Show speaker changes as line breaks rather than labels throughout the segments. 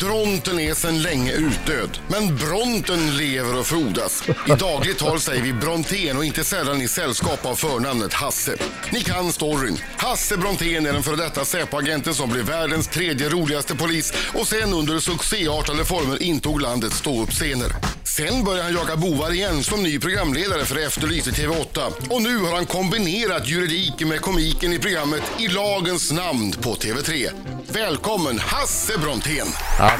Dronten är sedan länge utdöd, men Bronten lever och frodas. I dagligt tal säger vi Brontén och inte sällan i sällskap av förnamnet Hasse. Ni kan storyn. Hasse Brontén är den före detta Säpo-agenten som blev världens tredje roligaste polis och sen under succéartade former intog landets ståuppscener. Sen började han jaga bovar igen som ny programledare för Efterlyst i TV8. Och nu har han kombinerat juridiken med komiken i programmet I lagens namn på TV3. Välkommen Hasse Brontén!
Bra,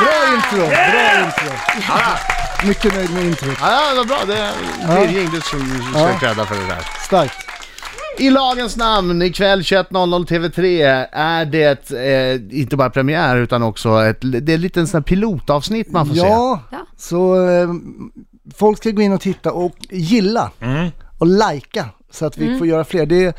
bra intro, bra intro. Mycket nöjd med introt.
Ja, det var bra. Det Birging, du som som ska credda för det där.
Starkt.
I lagens namn, ikväll 21.00 TV3 är det eh, inte bara premiär utan också ett, det är lite en sån här pilotavsnitt man får se.
Ja,
Ja.
så eh, folk ska gå in och titta och gilla
Mm.
och lajka så att vi får göra fler. Det är,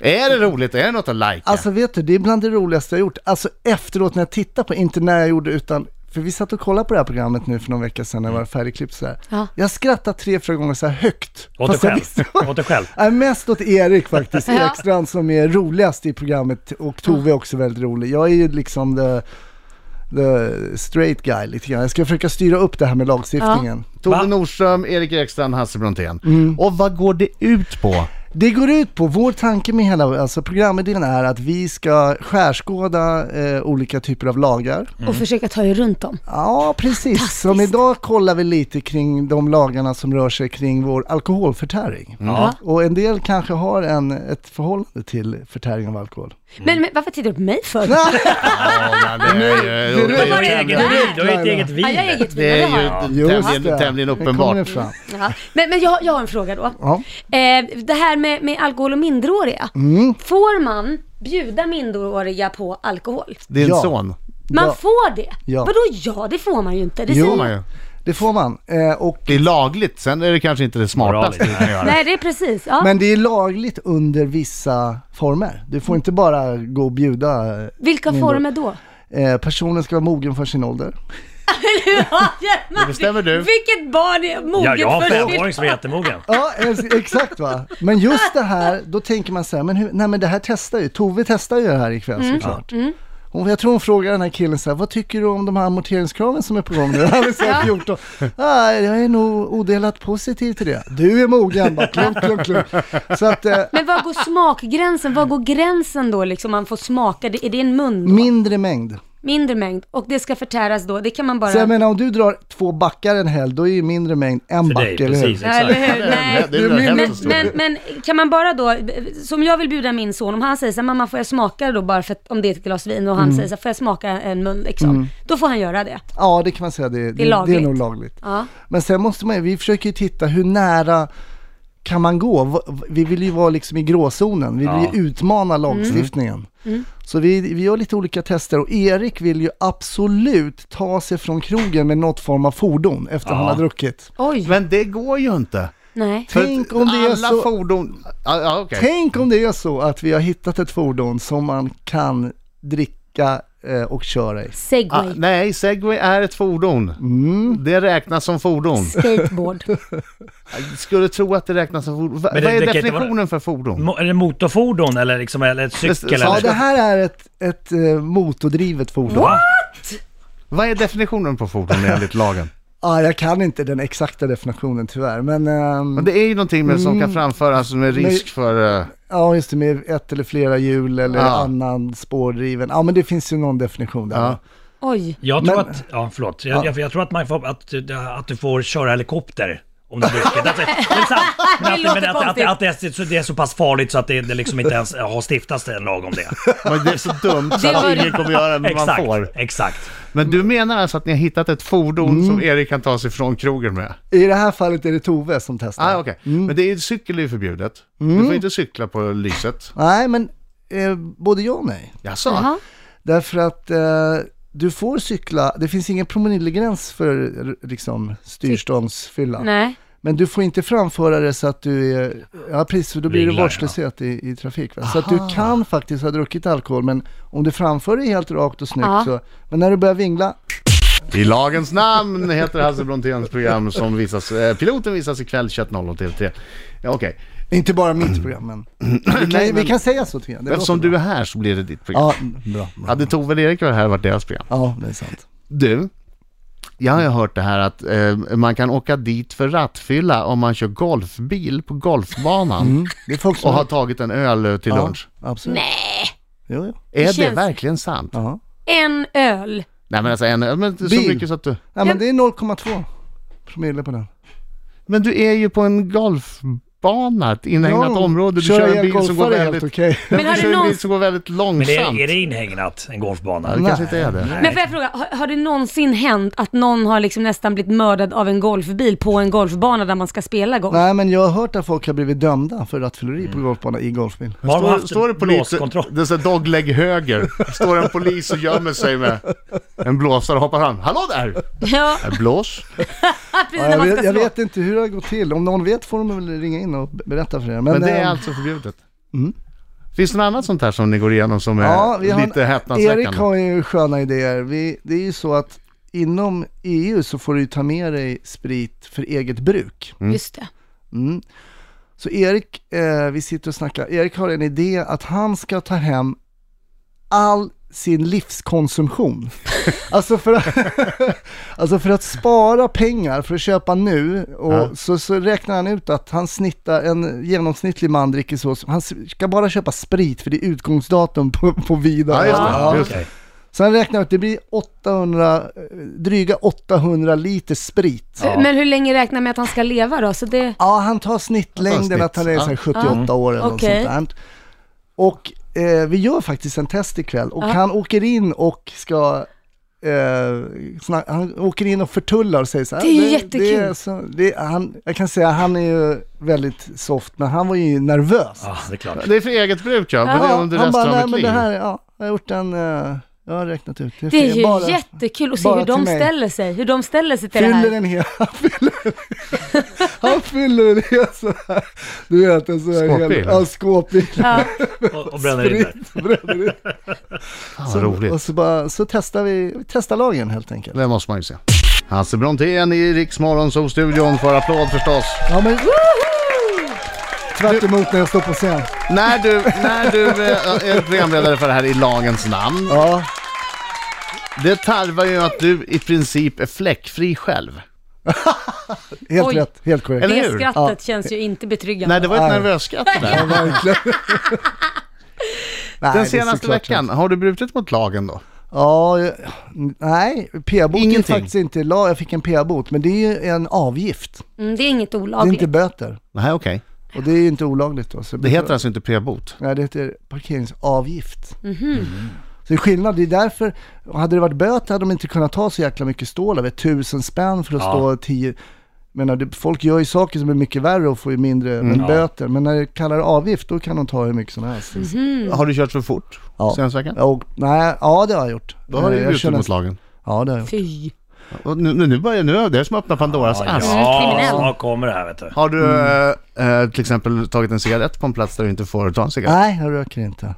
Är det roligt? Är det något att likea?
alltså vet du, det är bland det roligaste jag gjort. Alltså efteråt när jag tittar på, inte när jag gjorde utan för vi satt och kollade på det här programmet nu för någon vecka sedan när jag var färdigklippt så här.
Ja.
Jag skrattade tre, fyra gånger så här högt.
Åt dig
Fast jag
själv.
visste-
Åt dig själv.
Nej, Äh, mest åt Erik faktiskt,
Ja.
Erik Strand som är roligast i programmet och Tove är också väldigt rolig. Jag är ju liksom the, the straight guy lite grann. Jag ska försöka styra upp det här med lagstiftningen.
Tove
Va?
Nordström, Erik Ekstrand, Hasse Brontén.
Mm.
Och vad går det ut på?
Det går ut på, vår tanke med hela alltså programidén är att vi ska skärskåda eh, olika typer av lagar.
Och försöka ta er runt dem.
Ja, precis. Som idag kollar vi lite kring de lagarna som rör sig kring vår alkoholförtäring.
Ja.
Och en del kanske har en, ett förhållande till förtäring av alkohol.
Men, men varför tittar du på mig för?
Ja, det är ju,
Du har
var
ju
det
ett
där?
eget vin. Du har ju ett eget
Ja, jag är
vin.
eget vin,
det
det har
är
jag.
ju
Just
tämligen,
det.
tämligen
Det kommer
uppenbart.
fram.
Ja. Men, men jag, jag har en fråga då.
Ja.
Eh, det här med, med alkohol och minderåriga. Får man bjuda minderåriga på alkohol?
Din
Ja.
son.
Man
Ja.
får det?
Ja.
Vadå ja, det får man ju inte. Det
Jo,
säger-
Får man ju.
Det får man. Eh, och,
Det är lagligt, sen är det kanske inte det smartaste du kan göra.
Nej, det är precis. Ja.
men det är lagligt under vissa former. Du får inte bara gå och bjuda. eh,
Vilka
mindre-
former då?
Eh, personen ska vara mogen för sin ålder.
det
bestämmer du.
Vilket barn är
Ja,
moget
jag har en
för sin-
femåring som är jättemogen.
Ja, ex- exakt va. Men just det här, då tänker man så här, men hur, nej men det här testar ju. Tove testar ju det här ikväll såklart. Hon, jag tror hon frågar den här killen så här, vad tycker du om de här amorteringskraven som är på gång nu? Han är så här 14. Ah, jag är nog odelat positiv till det. Du är mogen, bara klunk, klunk, klunk. Så att, eh,
Men var går smakgränsen? Var går gränsen då liksom man får smaka? Det- Är det en mun då?
mindre mängd.
Mindre mängd. Och det ska förtäras då? Det kan man bara...
Så jag menar om du drar två backar en helg, då är ju mindre mängd en
För
back,
dig,
eller
precis.
hur?
Ja, eller
Exakt.
hur? Nej.
Det är väl
Men-
hälften
Men,
så
men, men kan man bara då, som jag vill bjuda min son, om han säger så här, mamma får jag smaka då bara för att, om det är ett glas vin och
Mm.
han säger så här, får jag smaka en mun liksom? Då får han göra det.
Ja, det kan man säga. Det, det, det, är
lagligt.
nog lagligt.
Ja.
Men sen måste man ju- vi försöker ju titta hur nära kan man gå? V- Vi vill ju vara liksom i gråzonen, vi vill ju utmana
Mm.
lagstiftningen. Så vi, vi gör lite olika tester och Erik vill ju absolut ta sig från krogen med något form av fordon efter han har druckit.
Oj,
Men det går ju inte.
nej.
För
Tänk om det är
alla
så-
fordon... Ja, ja, okej.
Tänk om det är så att vi har hittat ett fordon som man kan dricka eh, och köra i.
Ah,
Segway,
nej, segway är ett fordon.
Mm.
Det räknas som fordon.
skateboard.
Jag skulle tro att det räknas som fordon. Va,
Men det-
vad är
det kan inte
definitionen för fordon?
Mo- Är det motorfordon eller, liksom, eller ett cykel?
Ja,
Ja,
eller?
det här är ett, ett eh, motordrivet fordon.
Va?
Vad är definitionen på fordon enligt lagen?
Ja, jag kan inte den exakta definitionen tyvärr, men... ehm,
Men det är ju någonting med, som
Mm.
kan framföras med risk för... eh,
Ja, just det, med ett eller flera hjul eller
Ja.
annan spårdriven. Ja, men det finns ju någon definition där.
Ja.
Oj.
Jag tror
Men-
att, ja förlåt, jag, jag, jag tror att, man får, att, att du får köra helikopter om du dricker. Alltså, det är sant. Men att-
låter
men att- att-
konstigt.
att det är så- det är så pass farligt så att det, det liksom inte ens har stiftats en lag om det.
Men det är så dumt så
Det var
att
det.
ingen kommer göra det, men man
Exakt,
får.
exakt.
Men du menar alltså att ni har hittat ett fordon
Mm.
som Erik kan ta sig från krogen med?
I det här fallet är det Tove som testar.
Ah, okej.
Mm.
Men det är, cykel är ju förbjudet. Du får inte cykla på lyset.
Nej, men eh, både jag och nej.
Jaså?
Jaha.
Därför att eh, du får cykla, det finns ingen promillegräns för eh, liksom, styrståndsfylla.
Nej.
Men du får inte framföra det så att du är, ja precis, för då blir det
Ringlar,
vårdslöshet i, i trafik. Va? Så att du kan faktiskt ha druckit alkohol, men om du framför det helt rakt och snyggt
Ja.
så, men när du börjar vingla,
I lagens namn heter Hasse Bronténs program som visas, eh, piloten visas ikväll 21.00 TV3. Ja, Okej,
Inte bara mitt program, men vi kan,
Nej, men-
vi kan säga så tycker jag. Det
Eftersom
låter
du
bra.
är här så blir det ditt program.
Ja, bra. bra.
Hade Tove och Erik varit här hade det varit deras program.
Ja, det är sant.
Du, jag har ju hört det här att eh, man kan åka dit för rattfylla om man kör golfbil på golfbanan
Mm. Det är folk som...
och har tagit en öl eh, till
ja,
lunch.
absolut.
Nej,
Jo, jo.
Är det,
känns-
verkligen sant?
Ja.
en öl.
Nej men alltså en öl, men så
Bil.
mycket så att du...
Nej, men det är 0,2 promille på den.
Men du är ju på en golfbana, ett inhägnat
Ja,
område, du
köra
kör en
en
bil som går
golfare är
väldigt...
helt okej.
Men har
du
det
kör en
någon-
bil som går väldigt
Men
långsamt.
är, är det inhägnat, en golfbana?
Ja, det
Nej.
kanske inte är det.
Men får jag fråga, har, har det någonsin hänt att någon har liksom nästan blivit mördad av en golfbil på en golfbana där man ska spela golf?
Nej, men jag har hört att folk har blivit dömda för rattfylleri
Mm.
på golfbana i golfbil.
Har de
Står,
haft
står det polis,
blåskontroll?
det är så här dogleg höger, står en polis och gömmer sig med en blåsare och hoppar fram. Hallå där!
Ja,
Blås.
precis
Ja,
när
jag,
man ska
vet, jag
slå.
vet inte hur det har gått till. Om någon vet får de väl ringa in och be- berätta för er. Men,
Men det är
ehm, mm.
alltså förbjudet. Finns det något annat sånt här som ni går igenom som är
ja, vi har
Eh, lite
en, Erik
häpnadsväckande?
har ju sköna idéer. Vi, det är ju så att inom EU så får du ju ta med dig sprit för eget bruk.
Just det.
Mm. Så Erik, eh, vi sitter och snackar. Erik har en idé att han ska ta hem all sin livskonsumtion. alltså, för att, alltså för att spara pengar för att köpa nu och
Ja.
så, så räknar han ut att han snittar, en genomsnittlig man dricker så, han ska bara köpa sprit för det är utgångsdatum på, på
Ja,
vidare.
just det.
Ja,
Just det.
okej.
Så han räknar ut att det blir 800, eh, dryga 800 liter sprit.
Men hur länge räknar man med att han ska leva då? Så det...
Ja, han tar snittlängden
Han tar snitt.
att han är så här
Ja.
78 år eller
Okej.
något sånt där. Och eh, vi gör faktiskt en test ikväll och han åker in och ska Eh, sna- han åker in och förtullar och säger så här.
Det är ju
Det är
jättekul."
så, det är, han, jag kan säga han är ju väldigt soft, men han var ju nervös.
Ja, det är klart.
Det är för eget bruk ja, men det är under
han
resten
bara, nej
av
men
mitt
det
liv.
här, är- ja, jag har gjort en, eh, jag har räknat ut.
Det är
fel,
ju
bara-
jättekul att se
bara
hur de
till mig.
ställer sig. Hur de ställer sig till det
fyller
här.
den hel, han fyller den han fyller den hel så här. Du vet en sån här
Skåpbil.
hel, ja, skåpbil.
Ja.
Och, och bränner in där.
Bränner ut.
Fan vad roligt.
Och så, bara, så testar vi, vi testar lagen helt enkelt.
Det måste man ju se. Hasse Brontén i Riks Morgonzoo-studion får applåd förstås.
Ja men Tvärt emot när jag står på scen.
När du, när du eh, är programledare för det här i lagens namn,
Ja,
det tarvar ju att du i princip är fläckfri själv.
helt
Oj.
rätt, helt korrekt.
Eller
Det
hur?
skrattet
Ja.
känns ju inte betryggande.
Nej, det var ett
Nej.
nervöst skratt det där.
Verkligen. Nej, det är
Den senaste
såklart
veckan, har du brutit mot lagen då?
Ja, jag- nej, p-bot är
Ingenting.
faktiskt inte lag. Jag fick en p-bot, men det är ju en avgift.
Mm, det är inget
Det är
olagligt.
inte böter.
Nej, okej.
Och det är ju inte olagligt då. Så
Det heter alltså inte p-bot?
Nej, det heter parkeringsavgift. Så det är skillnad, det är därför, hade det varit böter hade de inte kunnat ta så jäkla mycket stål, över tusen spänn för att
Ja.
stå tio, menar, det, folk gör ju saker som är mycket värre och får ju mindre men
Ja.
böter. Men när det kallar det avgift, då kan de ta hur mycket som helst. liksom.
Har du kört för fort
Ja.
senaste veckan?
Ja, Och, nej, ja det har jag gjort.
Då har
Eh,
du
jag
ju brutit
känner-
mot lagen.
Ja, det har jag gjort.
Fy.
Och nu, nu, nu börjar nu, det är som att öppna Pandoras
Ja,
ask.
ja,
kriminell.
snart kommer det här vet du.
Har du eh, eh, till exempel tagit en cigarett på en plats där du inte får ta en cigarett?
Nej, jag röker inte.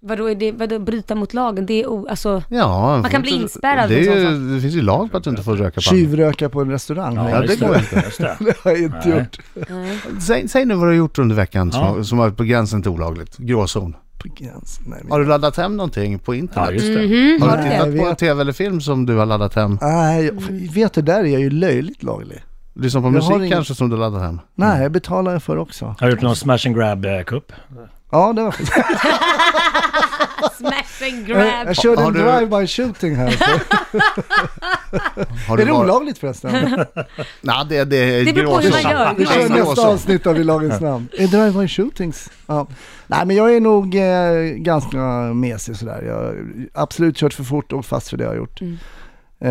Vadå, är det, vadå bryta mot lagen? Det är o, alltså,
Ja,
Man kan bli inspärrad
det,
och
är
sånt,
ju, det finns ju lag på att du inte får röka på andra.
Tjyvröka på en restaurang.
Ja,
Nej,
det
just
går
det. Just det.
det har jag inte
Nej.
gjort.
nej.
säg, säg nu vad du har gjort under veckan som,
Ja.
har- som var på gränsen till olagligt. Gråzon.
På gränsen, nej, men-
Har du laddat hem någonting på
Ja,
internet?
just det.
Har
Nej,
du
jag
tittat på
vet.
en tv eller film som du har laddat hem?
Nej, jag- vet du, där är jag ju löjligt laglig.
Lyssnat på
Jag
musik
har ingen-
kanske som du laddat hem?
Nej, jag betalar jag för också.
Har du gjort någon smash and eh, grab-cup?
Ja, det var faktiskt.
Smash and
Jag,
grab.
jag körde
Har
en
du-
drive-by shooting här. Så.
Har
Är det
bara-
olagligt förresten?
Nej, det, det är
Det beror på hur man
gråzon.
gör.
Vi
Nej,
kör
Det är
nästa
gråzon.
avsnitt av I lagens namn. Är drive-by shootings? Ja. Nej, men jag är nog eh, ganska mesig sådär. Jag har absolut kört för fort och fast för det jag har gjort. Eh,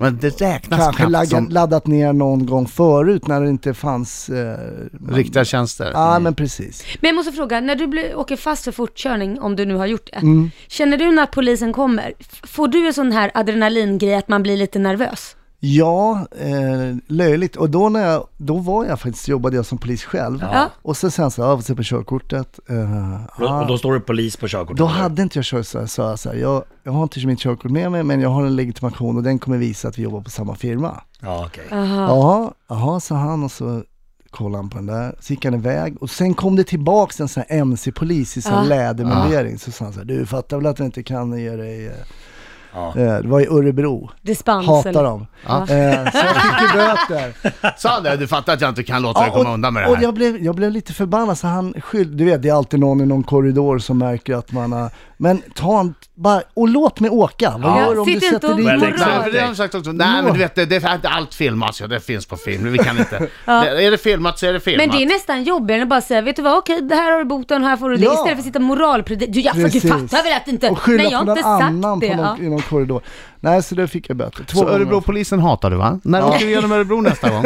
Men det räknas
kanske
knappt
laggat,
som
laddat ner någon gång förut när det inte fanns... Eh, man-
riktiga tjänster.
Ja, men precis.
Men jag måste fråga, när du blir, åker fast för fortkörning, om du nu har gjort det,
Mm.
känner du när polisen kommer, f- får du en sån här adrenalingrej att man blir lite nervös?
Ja, eh, löjligt. Och då, när jag, då var jag faktiskt, jobbade jag som polis själv.
Ja.
Och sen sen så, ja, se på körkortet. Eh,
Och, och
ah.
då står det polis på körkortet.
Då hade inte jag körkort, så jag sa så här, jag, jag har inte mitt körkort med mig, men jag har en legitimation och
Ah.
den kommer visa att vi jobbar på samma firma.
Ja, okej.
Jaha, jaha, sa han och så kollade han på den där, så gick han iväg och sen kom det tillbaks en sån här mc-polis i sån här
Ja.
lädermundering. Så sa han så här, du fattar väl att jag inte kan ge dig... eh, eh, Det var i Örebro.
Dispens eller?
Hatar dem. Eh, Så jag fick ju böter.
Sa han det? Du fattar att jag inte kan låta dig komma undan med det
och
här?
jag blev, jag blev lite förbannad, så han skyll, du vet det är alltid någon i någon korridor som märker att man har, men ta en, bara, och låt mig åka. Vad
Ja.
gör du om
Sitt
du
inte
sätter
och Alltså,
dit
morra.
mig?
Exakt.
Nej, för det har de sagt också. Nej men du vet, det, det är inte allt filmas ju. Det finns på film. Vi kan inte. det, är det filmat så är det filmat.
Men det är nästan jobbigare än att bara säga, vet du vad, okej, det här har du boten, här får du det.
Ja.
Istället för att sitta moralpredika. Du, jag
Precis.
fattar väl att inte...
Och skylla
Nej,
på
jag har
någon
inte sagt
annan
det.
på någon, i
ja.
någon korridor. Nej, så det fick jag böter. Två
Så
gånger.
Örebropolisen hatar du va? När åker vi genom Örebro nästa gång?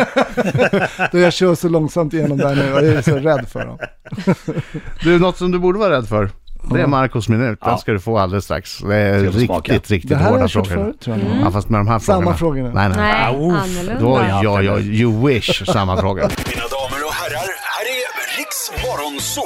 Då jag kör så långsamt igenom där nu och jag är så rädd för dem.
Du, något som du borde vara rädd för. Det är Marcos minut. Den ska du få alldeles strax. Det är
Ska jag få smaka?
riktigt, riktigt
Det här har
hårda
jag kört
frågor. Mm.
förut tror jag.
Ja, fast med de här
Samma
frågorna.
frågorna.
Nej, nej.
Nej,
Ah, uff.
Då,
annorlunda.
ja,
ja.
ja, you wish. Samma fråga.
Mina damer och herrar, här är Riks Morgonzoo!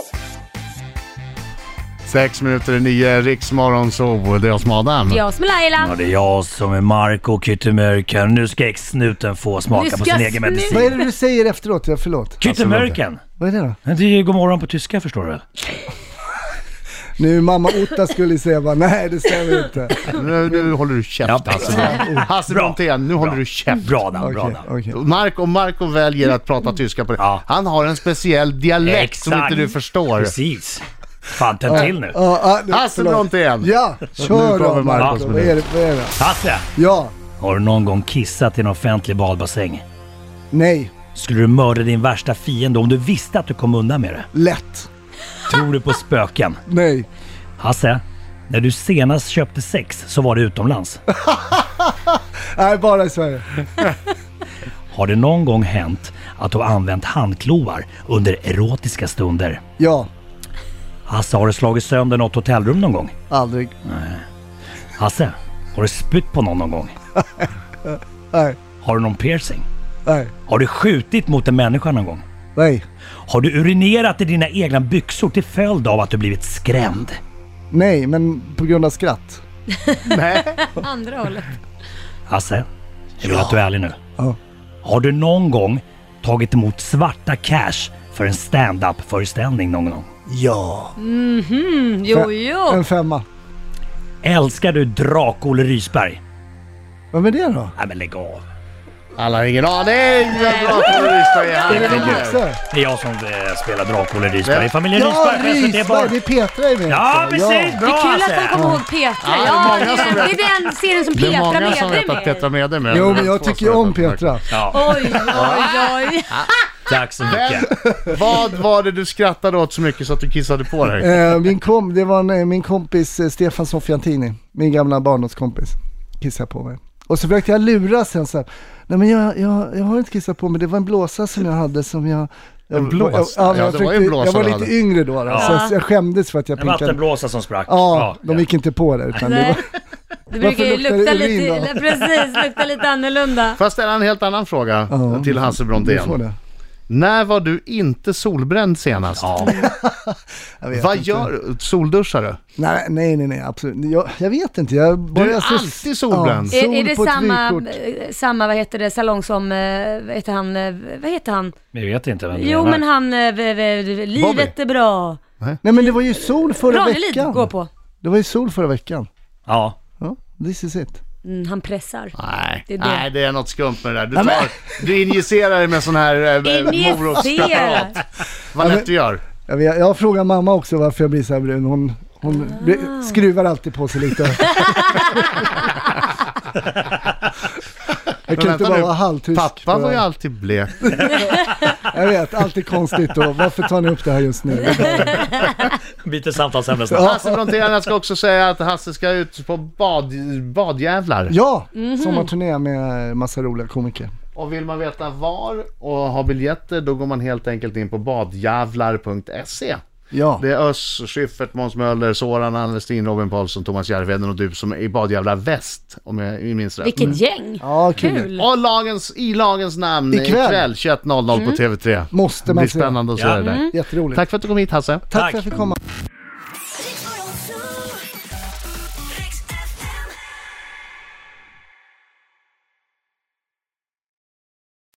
Sex minuter i nio, Riksmorgon, så det är jag som Adam.
Jag som är
Ja,
Laila.
det är jag som är Marco Kyttemörken. Nu ska snuten få
Nu
smaka på
ska
sin egen
snuten-
Vad är
medicin.
det du säger efteråt? Jag förlåt.
Kyttemörken!
Vad är det då?
Det är ju godmorgon på tyska förstår du.
Nu mamma Otta skulle säga bara, nej det stämmer inte.
Nu, nu håller du käft
Ja.
Hasse. Hasse
Bra.
Brontén, nu håller du käft.
Bra namn, bra
Okej,
namn.
okej.
Marco, Marco väljer att prata tyska på det.
Ja.
Han har en speciell dialekt som inte du förstår.
Precis. Fan, tänd till nu.
Ja, ja, nu- Alltså,
Hasse
förlåt.
Brontén.
Ja,
Nu
kör
kommer
då
Marcos
Marcus. Vad är det? Vad är det?
Hasse!
Ja,
Har du någon gång kissat i en offentlig badbassäng?
nej,
Skulle du mörda din värsta fiende om du visste att du kom undan med det?
lätt,
Tror du på spöken?
nej.
Hasse, när du senast köpte sex så var det utomlands.
Nej, bara i Sverige.
Har det någon gång hänt att du har använt handklovar under erotiska stunder?
Ja,
Hasse, har du slagit sönder något hotellrum någon gång?
aldrig.
Hasse, har du spytt på någon någon gång?
Nej,
Har du någon piercing?
nej,
Har du skjutit mot en människa någon gång?
nej,
Har du urinerat i dina egna byxor till följd av att du blivit skrämd?
nej, men på grund av skratt.
Nej.
Andra hållet.
Hasse, jag vill att du är ärlig nu.
Ja.
Har du någon gång tagit emot svarta cash för en stand-up föreställning någon gång?
Ja.
Mm, jo, jo.
En femma.
Älskar du Drak-Olle Rysberg?
Vem är det då?
Nej men lägg av.
Alla har ingen aning vem Marco Rysberg är.
Axel?
Det är jag som eh, spelar Drak-Olle Rysberg i familjen
Ja,
Rysberg.
Risberg!
på SVT Barn.
Det är Petra i mig
Ja
också.
precis!
Det
Bra
är kul att
Hasse!
han kommer ihåg Petra.
Ja, det är
Ja, det
många som
är, den, det är den serien som
Det är
Petra
många som vet att
leder
Petra
med.
Mede är med.
Jo,
Det är
men jag
två
tycker
som
ju
vet
om
att Petra-
Petra.
Ja,
Oj, oj, oj.
tack så mycket.
Vad var det du skrattade åt så mycket så att du kissade på dig?
Eh, min, kom, det var en, eh, min kompis eh, Stefan Sofiantini, min gamla barndomskompis, kissade på mig. Och så försökte jag lura sen så här, nej men jag, jag, jag har inte kissat på mig, det var en blåsa som jag hade som jag... jag
En blåsa?
Jag, ja, men
Ja,
jag,
det var ju
försökte-
en blåsa
jag var
du
lite
hade.
yngre då, då
Ja.
så jag skämdes för att jag
En
pinkade.
vattenblåsa som sprack.
Ja, de gick inte på det. Utan det
Nej.
var,
Det brukar ju
Varför luktar
lukta
det urin
lite,
då?
precis, lukta lite annorlunda.
Får jag ställa en helt annan fråga
Ja.
till Hasse
du får
Brontén?
det.
När var du inte solbränd senast?
Ja.
Jag vet
Vad
inte.
gör du? Solduschar du?
Nej, nej, nej, nej absolut. Jag, jag vet inte. Jag
Du är
börjar så-
alltid solbränd.
Ja.
Är,
Sol
är det
på ett
samma,
vykort.
eh, samma, vad heter det, salong som, eh, vad heter han, eh, vad heter han?
Men jag vet inte vem det
Jo
är.
men han, eh, v- v- livet är bra.
Nej men det var ju sol förra
Ranelid går
veckan.
på.
Det var ju sol förra veckan.
Ja.
Ja, this is it.
Mm, han pressar.
Nej,
Det är det.
Nej, det är något skumt med det där. Du, tar, du injicerar det med sån här eh, eh, morotspreparat.
Injicera!
Vad lätt du gör.
Jag, vet, jag frågar mamma också varför jag blir så här brun. Hon, hon
Ah.
blir- skruvar alltid på sig lite. jag kan
vänta
inte bara
nu.
vara halvtysk.
Pappa var ju
jag.
alltid blek.
jag vet, alltid konstigt då. Varför tar ni upp det här just nu?
Byter samtalsämne snabbt.
Hasse Brontén, jag ska också säga att Hasse ska ut på bad, badjävlar.
Ja,
Mhm.
sommarturné med massa roliga komiker.
Och vill man veta var och ha biljetter då går man helt enkelt in på badjävlar.se.
Ja,
Det är Özz, Schyffert, Måns Möller, Soran Alvestin, Robin Paulsson, Thomas Järvheden och du som är i Badjävlar Väst om jag minns rätt. Mm.
Vilket gäng!
Mm. ja kul.
Kul!
Och lagens, i lagens namn
Ikväll.
ikväll 21.00 på TV3.
Måste
Det
man
blir
se.
spännande att se
Ja.
det där.
Jätteroligt.
Tack för att du kom hit Hasse.
Tack för att jag fick komma.